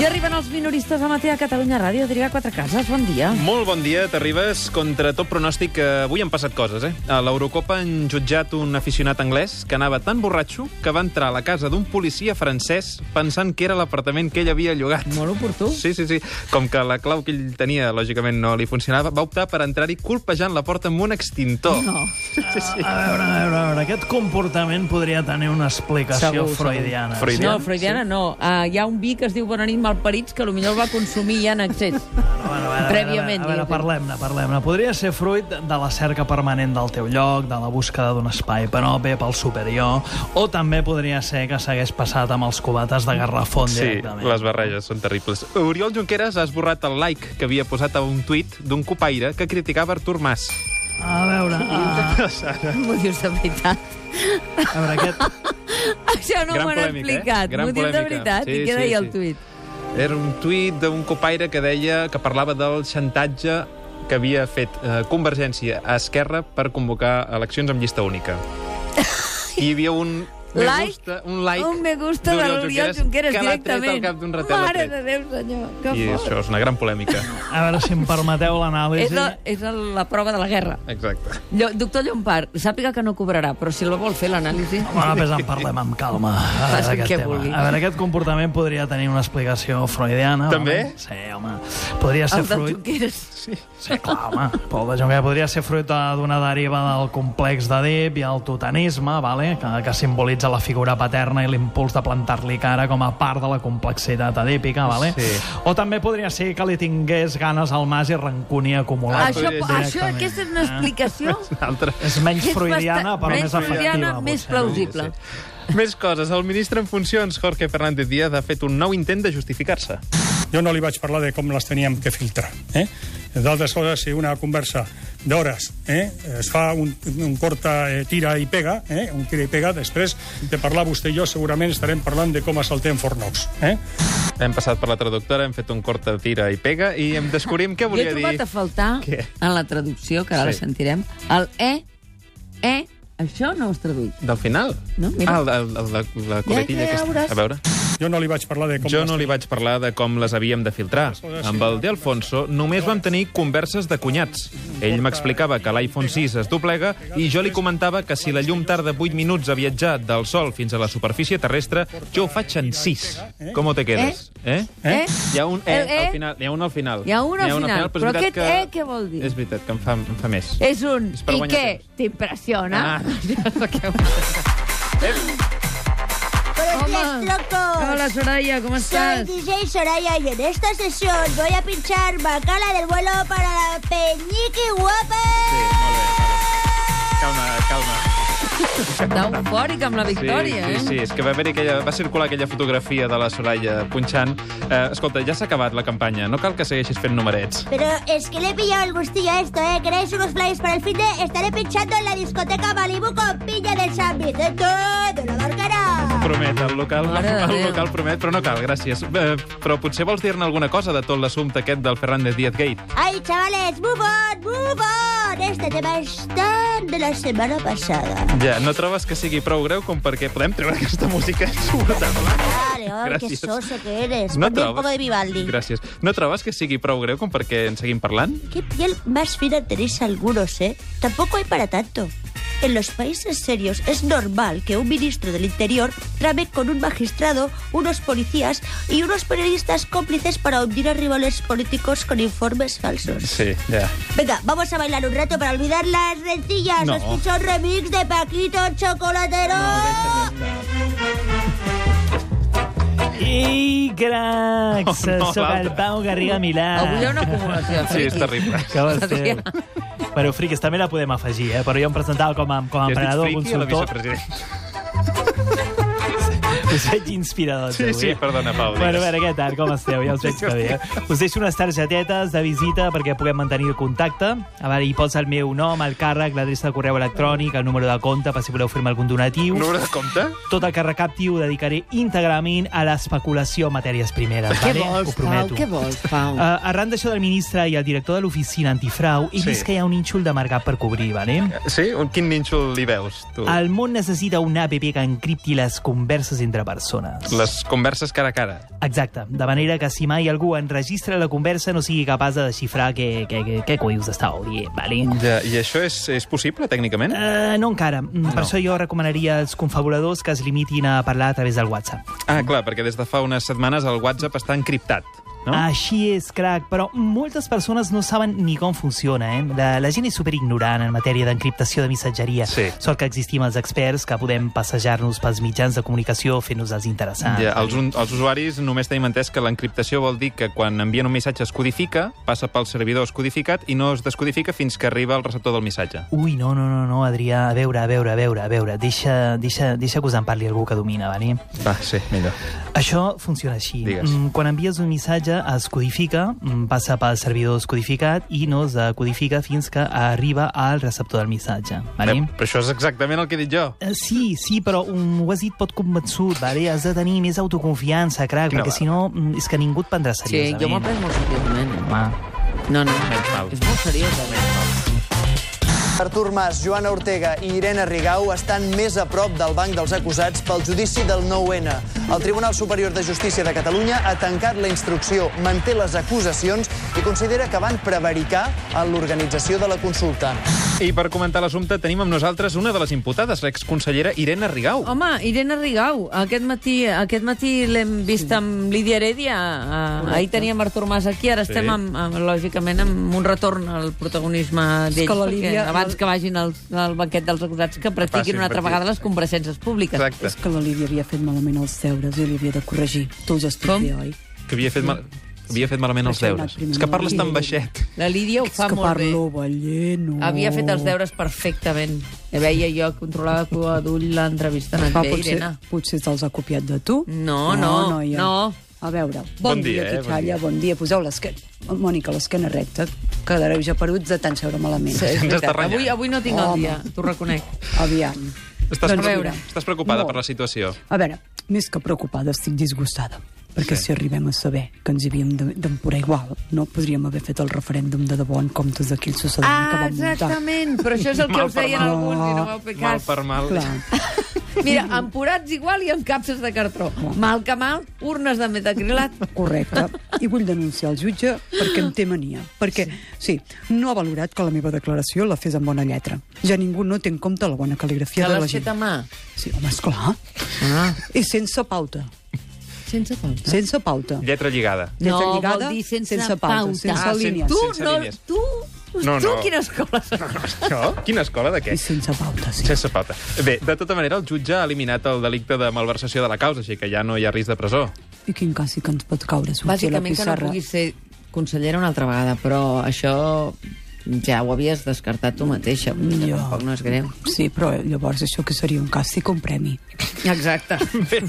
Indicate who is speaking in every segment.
Speaker 1: I arriben els minoristes al matí a Catalunya Ràdio. Adrià Quatre Cases, bon dia.
Speaker 2: Molt bon dia, t'arribes. Contra tot pronòstic, eh, avui han passat coses, eh? A l'Eurocopa han jutjat un aficionat anglès que anava tan borratxo que va entrar a la casa d'un policia francès pensant que era l'apartament que ell havia llogat.
Speaker 1: Molt oportú.
Speaker 2: Sí, sí, sí. Com que la clau que ell tenia, lògicament, no li funcionava, va optar per entrar-hi colpejant la porta amb un extintor.
Speaker 1: No.
Speaker 2: Sí, sí.
Speaker 3: A veure, a veure, a veure, aquest comportament podria tenir una explicació
Speaker 1: Segur, segur.
Speaker 3: freudiana.
Speaker 2: Freud. Freudiana,
Speaker 1: No, freudiana no. Uh, hi ha un vi que es diu Bona nit malparits que potser el va consumir ja en excés. Prèviament,
Speaker 3: A veure,
Speaker 1: diguem.
Speaker 3: parlem-ne, parlem-ne. Podria ser fruit de la cerca permanent del teu lloc, de la búsqueda d'un espai penope pel superior, o també podria ser que s'hagués passat amb els cubates de Garrafón
Speaker 2: Sí,
Speaker 3: directament.
Speaker 2: les barreges són terribles. Oriol Junqueras ha esborrat el like que havia posat a un tuit d'un copaire que criticava Artur Mas.
Speaker 3: A veure, a,
Speaker 1: M'ho dius de veritat.
Speaker 3: a veure aquest...
Speaker 1: Això no
Speaker 2: Gran
Speaker 1: m'ho han
Speaker 2: polèmica, eh?
Speaker 1: explicat.
Speaker 2: Gran
Speaker 1: M'ho dius de
Speaker 2: polèmica.
Speaker 1: veritat.
Speaker 2: Sí,
Speaker 1: I què
Speaker 2: sí,
Speaker 1: deia
Speaker 2: sí.
Speaker 1: el tuit?
Speaker 2: Era un tuit d'un copaire que deia que parlava del xantatge que havia fet eh, Convergència a Esquerra per convocar eleccions amb llista única. I hi havia un me
Speaker 1: Like?
Speaker 2: gusta, un like,
Speaker 1: Un me gusta de
Speaker 2: d'Oriol
Speaker 1: l'Oriol Junqueras
Speaker 2: que l'ha tret
Speaker 1: directament.
Speaker 2: al cap d'un ratet. l'ha
Speaker 1: Mare
Speaker 2: tret.
Speaker 1: de Déu, senyor. Que
Speaker 2: I
Speaker 1: fort.
Speaker 2: això és una gran polèmica.
Speaker 3: A veure si em permeteu
Speaker 1: És
Speaker 3: l'anàlisi.
Speaker 1: la, és la, la prova de la guerra.
Speaker 2: Exacte.
Speaker 1: Llo, doctor Llompart, sàpiga que no cobrarà, però si la vol fer l'anàlisi...
Speaker 3: Bueno, després en parlem amb calma. A
Speaker 1: Faci
Speaker 3: veure,
Speaker 1: el
Speaker 3: aquest
Speaker 1: que
Speaker 3: tema.
Speaker 1: vulgui.
Speaker 3: a veure, aquest comportament podria tenir una explicació freudiana.
Speaker 2: També?
Speaker 3: Home. Sí, home. Podria ser
Speaker 1: El de
Speaker 3: fruit...
Speaker 1: Junqueras.
Speaker 3: Sí, clar, home. Pol de Jonquera podria ser fruit de- d'una deriva del complex d'Edip i el totanisme, vale? que, que simbolitza la figura paterna i l'impuls de plantar-li cara com a part de la complexitat edípica. Vale?
Speaker 2: Sí.
Speaker 3: O també podria ser que li tingués ganes al mas i rancúnia acumulada.
Speaker 1: Això,
Speaker 2: Ah, podria ser Ah.
Speaker 1: això,
Speaker 3: directament,
Speaker 1: aquesta és una explicació
Speaker 2: Una altra.
Speaker 3: És menys
Speaker 1: que és
Speaker 3: freudiana,
Speaker 1: bastant-
Speaker 3: però
Speaker 1: menys
Speaker 3: més efectiva.
Speaker 1: freudiana, més
Speaker 3: potser, no?
Speaker 1: plausible.
Speaker 2: Més coses. El ministre en funcions, Jorge Fernández Díaz, ha fet un nou intent de justificar-se.
Speaker 4: Jo no li vaig parlar de com les teníem que filtrar. Eh? D'altres coses, si una conversa d'hores eh, es fa un, un corta eh, tira i pega, eh, un tira i pega, després de parlar vostè i jo segurament estarem parlant de com assaltem Fornox. Eh?
Speaker 2: Hem passat per la traductora, hem fet un cort de tira i pega i hem descobrim què
Speaker 1: Jo he
Speaker 2: volia dir.
Speaker 1: trobat a faltar,
Speaker 2: Què?
Speaker 1: en la traducció, que ara
Speaker 2: Sí.
Speaker 1: sí. sentirem, el e, e, això no ho has traduït.
Speaker 2: Del final?
Speaker 1: No, mira.
Speaker 2: Ah, el, el, el, la, la coletilla
Speaker 1: ja
Speaker 2: aquesta.
Speaker 1: veuràs.
Speaker 2: A veure.
Speaker 4: Jo no li vaig parlar de com
Speaker 2: Jo
Speaker 4: les
Speaker 2: no li vaig parlar de com les havíem de filtrar. Amb el De Alfonso només vam tenir converses de cunyats. Ell m'explicava que l'iPhone 6 es doblega i jo li comentava que si la llum tarda 8 minuts a viatjar del Sol fins a la superfície terrestre, jo ho faig en 6. Com te quedes? Eh?
Speaker 1: Eh?
Speaker 2: Hi ha un E,
Speaker 1: El E?
Speaker 2: al final. Hi ha un al final.
Speaker 1: Hi ha un al final,
Speaker 2: és
Speaker 1: però
Speaker 2: veritat
Speaker 1: aquest E què vol dir? Eh?
Speaker 2: És veritat, que em fa, em fa més.
Speaker 1: E És un...
Speaker 2: És per
Speaker 1: I
Speaker 2: guanyar
Speaker 1: què?
Speaker 2: temps.
Speaker 1: T'impressiona?
Speaker 2: Ah.
Speaker 5: Buenos días, locos.
Speaker 1: Hola, Soraya, com
Speaker 5: Soy
Speaker 1: estàs?
Speaker 5: DJ Soraya y en esta sesión voy a pinchar Bacala del vuelo para la Peñique
Speaker 2: Sí,
Speaker 5: Guapa.
Speaker 2: molt bé. Calma, calma.
Speaker 1: Està eufòric amb la
Speaker 2: Sí,
Speaker 1: victòria,
Speaker 2: sí, sí,
Speaker 1: eh?
Speaker 2: és que va, haver aquella, va circular aquella fotografia de la Soraya punxant. Eh, escolta, ja s'ha acabat la campanya, no cal que segueixis fent numerets.
Speaker 5: Pero es que le he pillado el gustillo a esto, ¿eh? ¿Queréis unos flyers para el fin de? Estaré pinchando en la discoteca Malibu con piña del San Vicente de la Barcara.
Speaker 2: Promet, el local,
Speaker 1: Mare de
Speaker 2: el
Speaker 1: Déu.
Speaker 2: local promet, però no cal, gràcies. Eh, però potser vols dir-ne alguna cosa de tot l'assumpte aquest del Fernández Díaz Gate.
Speaker 5: ¡Ay, chavales! ¡Move on! ¡Move on! Este tema es tan de la semana pasada.
Speaker 2: Ja, no trobes que sigui prou greu com perquè podem treure aquesta música insuportable?
Speaker 5: Vale, ay, qué
Speaker 2: Gracias.
Speaker 5: soso que eres.
Speaker 2: No
Speaker 5: Ponte un poco de Vivaldi.
Speaker 2: Gràcies. No trobes que sigui prou greu com perquè en seguim parlant?
Speaker 5: Qué piel más fina tenéis algunos, ¿eh? Tampoco hay para tanto. En los países serios es normal que un ministro del Interior trame con un magistrado, unos policías y unos periodistas cómplices para hundir a rivales políticos con informes falsos.
Speaker 2: Sí, ja.
Speaker 5: Venga, vamos a bailar un rato para olvidar las rencillas.
Speaker 2: No.
Speaker 5: Os picho un remix de Paquito Chocolatero.
Speaker 3: I cracs,
Speaker 2: Oh, no,
Speaker 3: sóc el
Speaker 2: l'altre.
Speaker 3: Pau Garriga Milà.
Speaker 1: Avui hi ha una acumulació.
Speaker 2: Sí, és terrible.
Speaker 3: Que va ser...
Speaker 1: Adrià.
Speaker 3: Bueno, friquis, també la podem afegir, eh? però jo em presentava com a, com a
Speaker 2: I has dit
Speaker 3: emprenedor,
Speaker 2: friki a la
Speaker 3: consultor...
Speaker 2: vicepresidenta.
Speaker 3: Us veig inspiradors,
Speaker 2: Sí,
Speaker 3: avui.
Speaker 2: sí, perdona, Pau.
Speaker 3: Bueno, a
Speaker 2: digues.
Speaker 3: veure, què tal? Com esteu? Ja us veig que bé. eh? Us deixo unes targetetes de visita perquè puguem mantenir el contacte. A veure, hi pots el meu nom, el càrrec, l'adreça de correu electrònic, el número de compte per si voleu fer-me algun donatiu.
Speaker 2: Número de compte?
Speaker 3: Tot el que recapti ho dedicaré íntegrament a l'especulació en matèries primeres.
Speaker 1: Què
Speaker 3: vale?
Speaker 1: vols,
Speaker 3: Ho
Speaker 1: Pau?
Speaker 3: prometo.
Speaker 1: Què vols, Pau?
Speaker 2: Ah,
Speaker 3: Uh, arran d'això del ministre i el director de l'oficina antifrau, he
Speaker 2: Sí.
Speaker 3: vist que hi ha un nínxol de mercat per cobrir, vale?
Speaker 2: Sí? Un- Quin nínxol li veus, tu?
Speaker 3: El món necessita una app que encripti les converses entre
Speaker 6: entre persones.
Speaker 2: Les converses cara a cara.
Speaker 6: Exacte, de manera que si mai algú enregistra la conversa no sigui capaç de desxifrar què, què, què, què collons estàveu dient, vale?
Speaker 2: Ja, I això és, és possible, tècnicament?
Speaker 3: Eh.
Speaker 6: Uh, no encara. No. Per això jo recomanaria als confabuladors que es limitin a parlar a través del WhatsApp.
Speaker 2: Ah, clar, perquè des de fa unes setmanes el WhatsApp està encriptat. No?
Speaker 3: Ah,
Speaker 6: Així és, crac, però moltes persones no saben ni com funciona, eh? La, la gent és superignorant en matèria d'encriptació de missatgeria.
Speaker 2: Sí.
Speaker 6: Sort que existim els experts que podem passejar-nos pels mitjans de comunicació fent-nos els interessants.
Speaker 2: Ja, els, un- els usuaris només tenim entès que l'encriptació vol dir que quan envien un missatge es codifica, passa pel servidor escodificat i no es descodifica fins que arriba al receptor del missatge.
Speaker 6: Ui, no, no, no, no, Adrià, a veure, a veure, a veure, a veure, deixa, deixa, deixa que us en parli algú que domina, vale?
Speaker 2: Va, sí, millor.
Speaker 6: Això funciona així.
Speaker 2: Digues.
Speaker 6: Mm, Quan envies un missatge, es codifica, mm, passa pel servidor descodificat i no es decodifica fins que arriba al receptor del missatge. Vale?
Speaker 2: Eh, Però això és exactament el que he dit jo.
Speaker 6: Eh, Sí, sí, però un ho has dit pot convençut, vale? has de tenir més autoconfiança, crac,
Speaker 2: Quina
Speaker 6: perquè
Speaker 2: va.
Speaker 6: si no mm, és que ningú et prendrà
Speaker 1: Sí,
Speaker 6: seriosament.
Speaker 1: jo m'ho pres molt seriosament. eh?
Speaker 6: Home.
Speaker 1: No, no,
Speaker 2: mal.
Speaker 1: és molt seriosament.
Speaker 7: Artur Mas, Joana Ortega i Irene Rigau estan més a prop del banc dels acusats pel judici del 9-N. El Tribunal Superior de Justícia de Catalunya ha tancat la instrucció, manté les acusacions i considera que van prevaricar en l'organització de la consulta.
Speaker 2: I per comentar l'assumpte tenim amb nosaltres una de les imputades, l'exconsellera Irene Rigau.
Speaker 1: Home, Irene Rigau, aquest matí, aquest matí l'hem vist amb Lídia Heredia. Ah, Ahir teníem Artur Mas aquí, ara estem, amb, amb, lògicament, amb un retorn al protagonisme d'ells.
Speaker 8: que la
Speaker 1: perquè
Speaker 8: Lídia-
Speaker 1: Abans que vagin al, al banquet dels acusats, que
Speaker 2: facin
Speaker 1: practiquin una altra
Speaker 2: practic-
Speaker 1: vegada les compareixences públiques.
Speaker 2: Exacte.
Speaker 8: És que la Lídia havia fet malament els deures i li havia de corregir. Tu ja
Speaker 1: Com?
Speaker 8: estudia, oi?
Speaker 2: Que havia fet, mal... havia fet malament els
Speaker 8: Això ha anat
Speaker 2: deures.
Speaker 8: primer
Speaker 2: És que
Speaker 8: amb la
Speaker 2: parles tan
Speaker 8: Lídia.
Speaker 2: baixet.
Speaker 1: La Lídia ho fa
Speaker 8: és que
Speaker 1: molt
Speaker 8: parlo
Speaker 1: bé.
Speaker 8: balleno.
Speaker 1: Havia fet els deures perfectament. Ja veia jo, controlava cua d'ull l'entrevista. Ha anat
Speaker 8: Va,
Speaker 1: bé,
Speaker 8: potser,
Speaker 1: Irene.
Speaker 8: potser te'ls ha copiat de tu.
Speaker 1: No, no,
Speaker 8: noia.
Speaker 1: no.
Speaker 8: A veure,
Speaker 2: Bon
Speaker 8: bon,
Speaker 2: dia,
Speaker 8: dia,
Speaker 2: eh, bon
Speaker 8: Quitalla, bon, dia. Poseu l'esquena. Mònica, l'esquena recta. Quedareu ja peruts de tant seure malament.
Speaker 1: Sí, és
Speaker 2: Ens està
Speaker 1: veritat.
Speaker 2: renyant.
Speaker 1: avui, avui no tinc el
Speaker 8: Home.
Speaker 1: dia, t'ho reconec.
Speaker 8: Aviam.
Speaker 2: Estàs,
Speaker 8: Doncs
Speaker 2: preocupada,
Speaker 8: veure.
Speaker 2: estàs preocupada
Speaker 8: Molt.
Speaker 2: per la situació.
Speaker 8: A veure, més que preocupada, estic disgustada. Perquè
Speaker 2: Sí.
Speaker 8: sí. si arribem a saber que ens havíem de- d'emporar igual, no podríem haver fet el referèndum de debò en comptes d'aquell succedent que
Speaker 1: Ah,
Speaker 8: vam muntar.
Speaker 1: exactament, però això és el que
Speaker 2: Mal
Speaker 1: us
Speaker 2: per
Speaker 1: deien
Speaker 2: mal.
Speaker 1: alguns i no vau fer
Speaker 2: Mal
Speaker 1: cas.
Speaker 2: per mal.
Speaker 8: Clar.
Speaker 1: Mira, empurats igual i amb capses de cartró. Mal que mal, urnes de metacrilat.
Speaker 8: Correcte. I vull denunciar el jutge perquè em té mania. Perquè, sí. no ha valorat que la meva declaració la fes amb bona lletra. Ja ningú no té en compte la bona
Speaker 1: Que
Speaker 8: cal·ligrafia de la
Speaker 1: l'has
Speaker 8: gent.
Speaker 1: fet a mà.
Speaker 8: Sí, home, esclar.
Speaker 1: Ah,
Speaker 8: I sense pauta.
Speaker 1: sense pauta.
Speaker 8: Sense pauta.
Speaker 2: Lletra lligada.
Speaker 8: Lletra
Speaker 1: no,
Speaker 8: lligada,
Speaker 1: vol dir sense,
Speaker 8: sense pauta,
Speaker 1: pauta.
Speaker 8: sense
Speaker 1: Ah,
Speaker 8: línies.
Speaker 1: Tu,
Speaker 2: Sense
Speaker 1: no,
Speaker 2: línies.
Speaker 1: tu,
Speaker 2: No,
Speaker 1: tu
Speaker 2: no.
Speaker 1: quina escola saps?
Speaker 2: No? Quina escola de què?
Speaker 8: I sense pauta, sí.
Speaker 2: Sense pauta. Bé, de tota manera, el jutge ha eliminat el delicte de malversació de la causa, així que ja no hi ha risc de presó.
Speaker 8: I quin cas sí que ens pot caure sortir a la
Speaker 1: Bàsicament que no
Speaker 8: pissarra.
Speaker 1: puguis ser consellera una altra vegada, però això ja ho havies descartat tu mateixa. vull dir que
Speaker 8: Jo.
Speaker 1: Tampoc no és greu.
Speaker 8: Sí, però eh, llavors això que seria un cas sí que un premi.
Speaker 1: Exacte.
Speaker 2: Bé,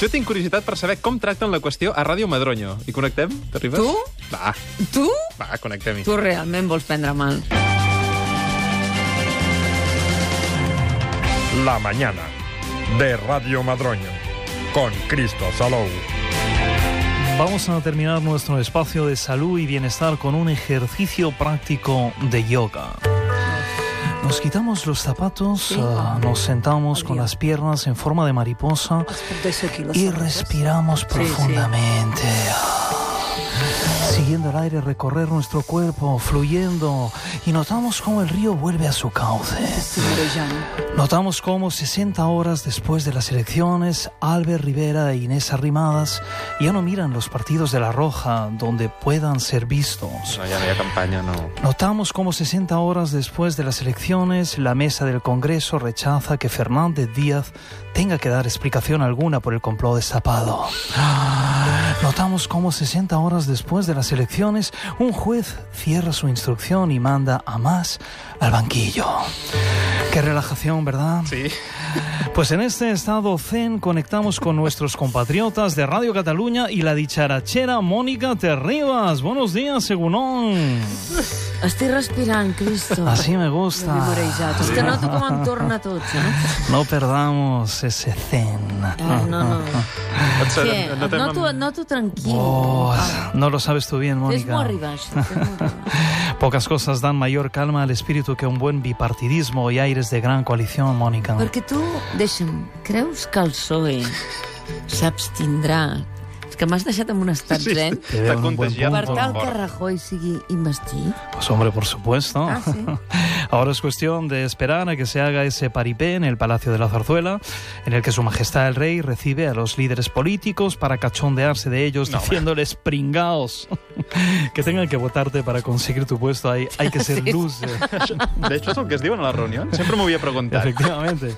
Speaker 2: jo tinc curiositat per saber com tracten la qüestió a Ràdio Madronyo. I connectem? T'arribes?
Speaker 1: Tu?
Speaker 2: Va,
Speaker 1: Tu?
Speaker 2: va, connectem-hi.
Speaker 1: Tu realment vols prendre mal.
Speaker 9: La mañana de Radio Madroño con Cristo Salou.
Speaker 3: Vamos a terminar nuestro espacio de salud y bienestar con un ejercicio práctico de yoga. Nos quitamos los zapatos, ah, nos sentamos con las piernas en forma de mariposa
Speaker 8: Es pot deixar aquí les
Speaker 3: y
Speaker 8: sabates?
Speaker 3: respiramos profundamente. Ah. Siguiendo el aire recorrer nuestro cuerpo, fluyendo, y notamos cómo el río vuelve a su cauce.
Speaker 8: Sí, marejant.
Speaker 3: Notamos cómo 60 horas después de las elecciones, Albert Rivera e Inés Arrimadas ya no miran los partidos de La Roja donde puedan ser vistos.
Speaker 2: No, ja no hi ha campanya, no.
Speaker 3: Notamos cómo 60 horas después de las elecciones, la mesa del Congreso rechaza que Fernández Díaz tenga que dar explicación alguna por el complot destapado. Notamos cómo 60 horas después de las elecciones, un juez cierra su instrucción y manda a más al banquillo. Qué relajación, ¿verdad?
Speaker 2: Sí.
Speaker 3: Pues en este estado zen conectamos con nuestros compatriotas de Radio Cataluña y la dicharachera Mónica Terribas. Buenos días, Segunón.
Speaker 10: Estic respirant, Cristo.
Speaker 1: Ah,
Speaker 3: Así me
Speaker 8: Jo m'he
Speaker 3: gusta.
Speaker 8: marejat.
Speaker 10: És que noto com em torna tot, saps?
Speaker 3: No perdamos ese zen.
Speaker 10: Ah, no, no.
Speaker 2: Et,
Speaker 10: Què?
Speaker 2: et
Speaker 10: Et
Speaker 2: notem
Speaker 10: noto,
Speaker 2: amb-
Speaker 10: et noto tranquil.
Speaker 3: Oh,
Speaker 1: Ah,
Speaker 3: no lo sabes tú bien,
Speaker 10: Fes-m'ho
Speaker 3: Mónica.
Speaker 10: arribar, això. fes-m'ho arribar.
Speaker 3: Pocas cosas dan mayor calma al espíritu que un buen bipartidismo y aires de gran coalición, Mónica.
Speaker 10: Perquè tu, deixa'm, creus que el PSOE
Speaker 1: s'abstindrà. És que m'has deixat en un estat sí, zen.
Speaker 3: Te veo en un buen
Speaker 2: contagiat.
Speaker 1: eh? Per
Speaker 3: punto.
Speaker 1: tal que Rajoy sigui investit.
Speaker 3: Pues hombre, por supuesto.
Speaker 1: Ah, sí.
Speaker 3: Ahora es cuestión de esperar a que se haga ese paripé en el Palacio de la Zarzuela, en el que su majestad el rey recibe a los líderes políticos para cachondearse de ellos, diciéndoles pringaos, que tengan que votarte para conseguir tu puesto. Hay, hay que ser luz. eh,
Speaker 2: De hecho, és el que es diuen a les reunions. Sempre m'ho havia preguntat.
Speaker 3: Efectivamente.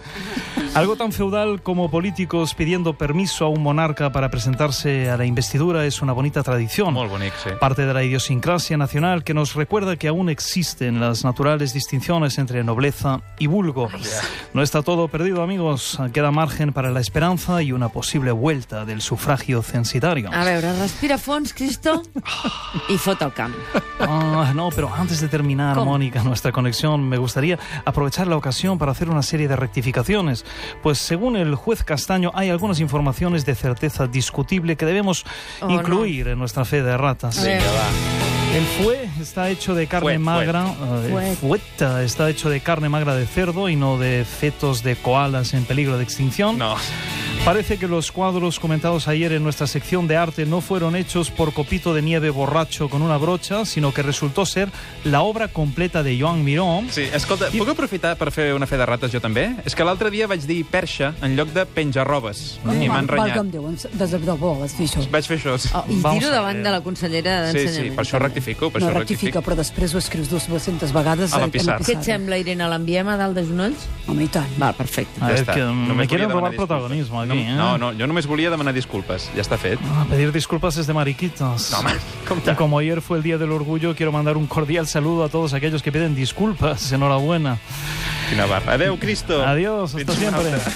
Speaker 3: Algo tan feudal como políticos pidiendo permiso a un monarca para presentarse a la investidura es una bonita tradición.
Speaker 2: Molt bonic, sí.
Speaker 3: Parte de la idiosincrasia nacional que nos recuerda que aún existen las naturales distinciones entre nobleza y vulgo. No está todo perdido, amigos. Queda margen para la esperanza y una posible vuelta del sufragio censitario.
Speaker 1: A veure, respira fons, Cristo, i fot el camp.
Speaker 3: Ah, no, pero antes de terminar,
Speaker 1: ¿Cómo?
Speaker 3: Mónica, nuestra conexión, me gustaría aprovechar la ocasión para hacer una serie de rectificaciones. Pues según el juez Castaño, hay algunas informaciones de certeza discutible que debemos
Speaker 1: Oh, no.
Speaker 3: incluir en nuestra fe de ratas.
Speaker 2: Vinga, va.
Speaker 3: El fue está hecho de carne
Speaker 2: Fuet,
Speaker 3: magra. eh,
Speaker 1: Fuet.
Speaker 3: fueta está hecho de carne magra de cerdo y no de fetos de koalas en peligro de extinción.
Speaker 2: No.
Speaker 3: Parece que los cuadros comentados ayer en nuestra sección de arte no fueron hechos por copito de nieve borracho con una brocha, sino que resultó ser la obra completa de Joan Miró.
Speaker 2: Sí, escolta, puc aprofitar per fer una fe de rates jo també? És que l'altre dia vaig dir perxa en lloc de penjarrobes. I m'han
Speaker 8: Valga'm
Speaker 2: renyat.
Speaker 8: Déu, em- des de debò les fixo.
Speaker 2: Vaig fer això.
Speaker 1: Oh, I
Speaker 3: Vamos
Speaker 1: tiro
Speaker 3: a
Speaker 1: davant
Speaker 3: ver.
Speaker 1: de la consellera
Speaker 2: Sí,
Speaker 1: d'Ensenyament.
Speaker 2: sí, per això rectifico, per
Speaker 8: No,
Speaker 2: això
Speaker 8: rectifica,
Speaker 2: rectifico.
Speaker 8: però després ho escrius 200 vegades.
Speaker 2: A la
Speaker 8: eh,
Speaker 2: pissarra.
Speaker 1: Què et sembla, Irene? L'enviem a dalt de genolls?
Speaker 8: Home, i tant.
Speaker 1: Val, perfecte.
Speaker 3: A ver,
Speaker 2: està.
Speaker 3: que mm, me
Speaker 2: Només
Speaker 3: quieren
Speaker 2: volia demanar
Speaker 3: robar
Speaker 2: disculpes.
Speaker 3: protagonismo aquí, ¿eh?
Speaker 2: No, no, jo només volia demanar disculpes. Ja està fet.
Speaker 3: Ah, pedir disculpas es de mariquitas.
Speaker 2: Home,
Speaker 3: Y
Speaker 2: compte.
Speaker 3: como ayer fue el Día del Orgullo, quiero mandar un cordial saludo a todos aquellos que piden disculpas. Enhorabuena.
Speaker 2: Quina barra. Adéu, Cristo.
Speaker 3: Adiós,
Speaker 2: Fins
Speaker 3: hasta
Speaker 2: una
Speaker 3: siempre.
Speaker 2: altra.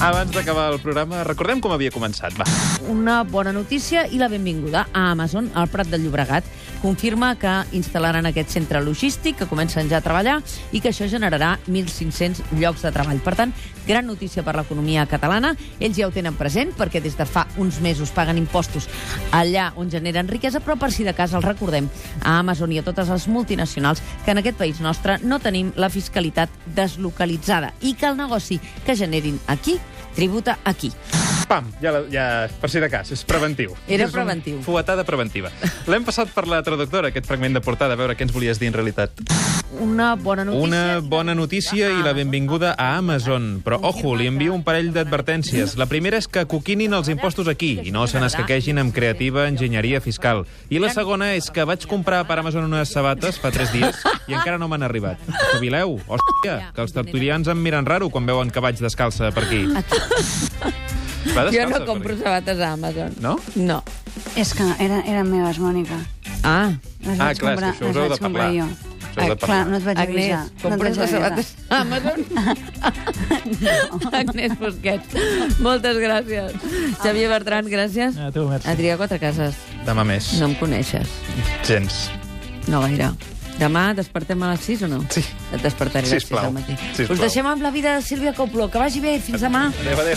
Speaker 2: Abans d'acabar el programa, recordem com havia començat. Va.
Speaker 1: Una bona notícia i la benvinguda a Amazon, al Prat del Llobregat. Confirma que instal·laran aquest centre logístic, que comencen ja a treballar, i que això generarà 1.500 llocs de treball. Per tant, gran notícia per l'economia catalana. Ells ja ho tenen present, perquè des de fa uns mesos paguen impostos allà on generen riquesa, però per si de cas els recordem a Amazon i a totes les multinacionals que en aquest país nostre no tenim la fiscalitat deslocalitzada i que el negoci que generin aquí tributa aquí.
Speaker 2: Pam, ja, la, ja, per si de cas, és preventiu.
Speaker 1: Era
Speaker 2: és
Speaker 1: preventiu.
Speaker 2: Un fuetada preventiva. L'hem passat per la traductora, aquest fragment de portada, a veure què ens volies dir en realitat.
Speaker 1: Una bona notícia.
Speaker 2: Una bona notícia i la benvinguda a Amazon. Però, ojo, li envio un parell d'advertències. La primera és que coquinin els impostos aquí i no se n'escaquegin amb creativa enginyeria fiscal. I la segona és que vaig comprar per Amazon unes sabates fa tres dies i encara no m'han arribat. Espavileu, hòstia, que els tertulians em miren raro quan veuen que vaig descalça per aquí. Va
Speaker 1: Ah. Jo
Speaker 2: descalça
Speaker 1: no compro
Speaker 2: Per aquí.
Speaker 1: sabates a Amazon.
Speaker 2: No?
Speaker 1: No.
Speaker 11: És que era, eren meves, Mònica.
Speaker 1: Ah,
Speaker 11: Les
Speaker 2: Ah,
Speaker 11: vaig
Speaker 2: clar, és que
Speaker 11: comprar,
Speaker 2: això us
Speaker 11: les
Speaker 2: heu de
Speaker 11: vaig comprar
Speaker 2: parlar.
Speaker 11: jo.
Speaker 2: Us heu de
Speaker 11: Ah, clar,
Speaker 2: parlar.
Speaker 11: no et vaig avisar.
Speaker 1: Agnès,
Speaker 11: no et vaig
Speaker 1: compres les
Speaker 11: avisar.
Speaker 1: sabates a Amazon? Agnès Busquets, moltes gràcies. Xavier Bertran, gràcies.
Speaker 3: A tu, merci.
Speaker 1: Adrià Quatre Cases,
Speaker 2: Demà més.
Speaker 1: no em coneixes.
Speaker 2: Gens.
Speaker 1: No gaire. Demà despertem a les 6 o no? Sí. Et despertaré a les 6
Speaker 2: Sisplau.
Speaker 1: del matí.
Speaker 2: Sisplau.
Speaker 1: Us deixem amb la vida de Sílvia Coplo. Que vagi bé. Fins demà.
Speaker 2: Adéu, adéu.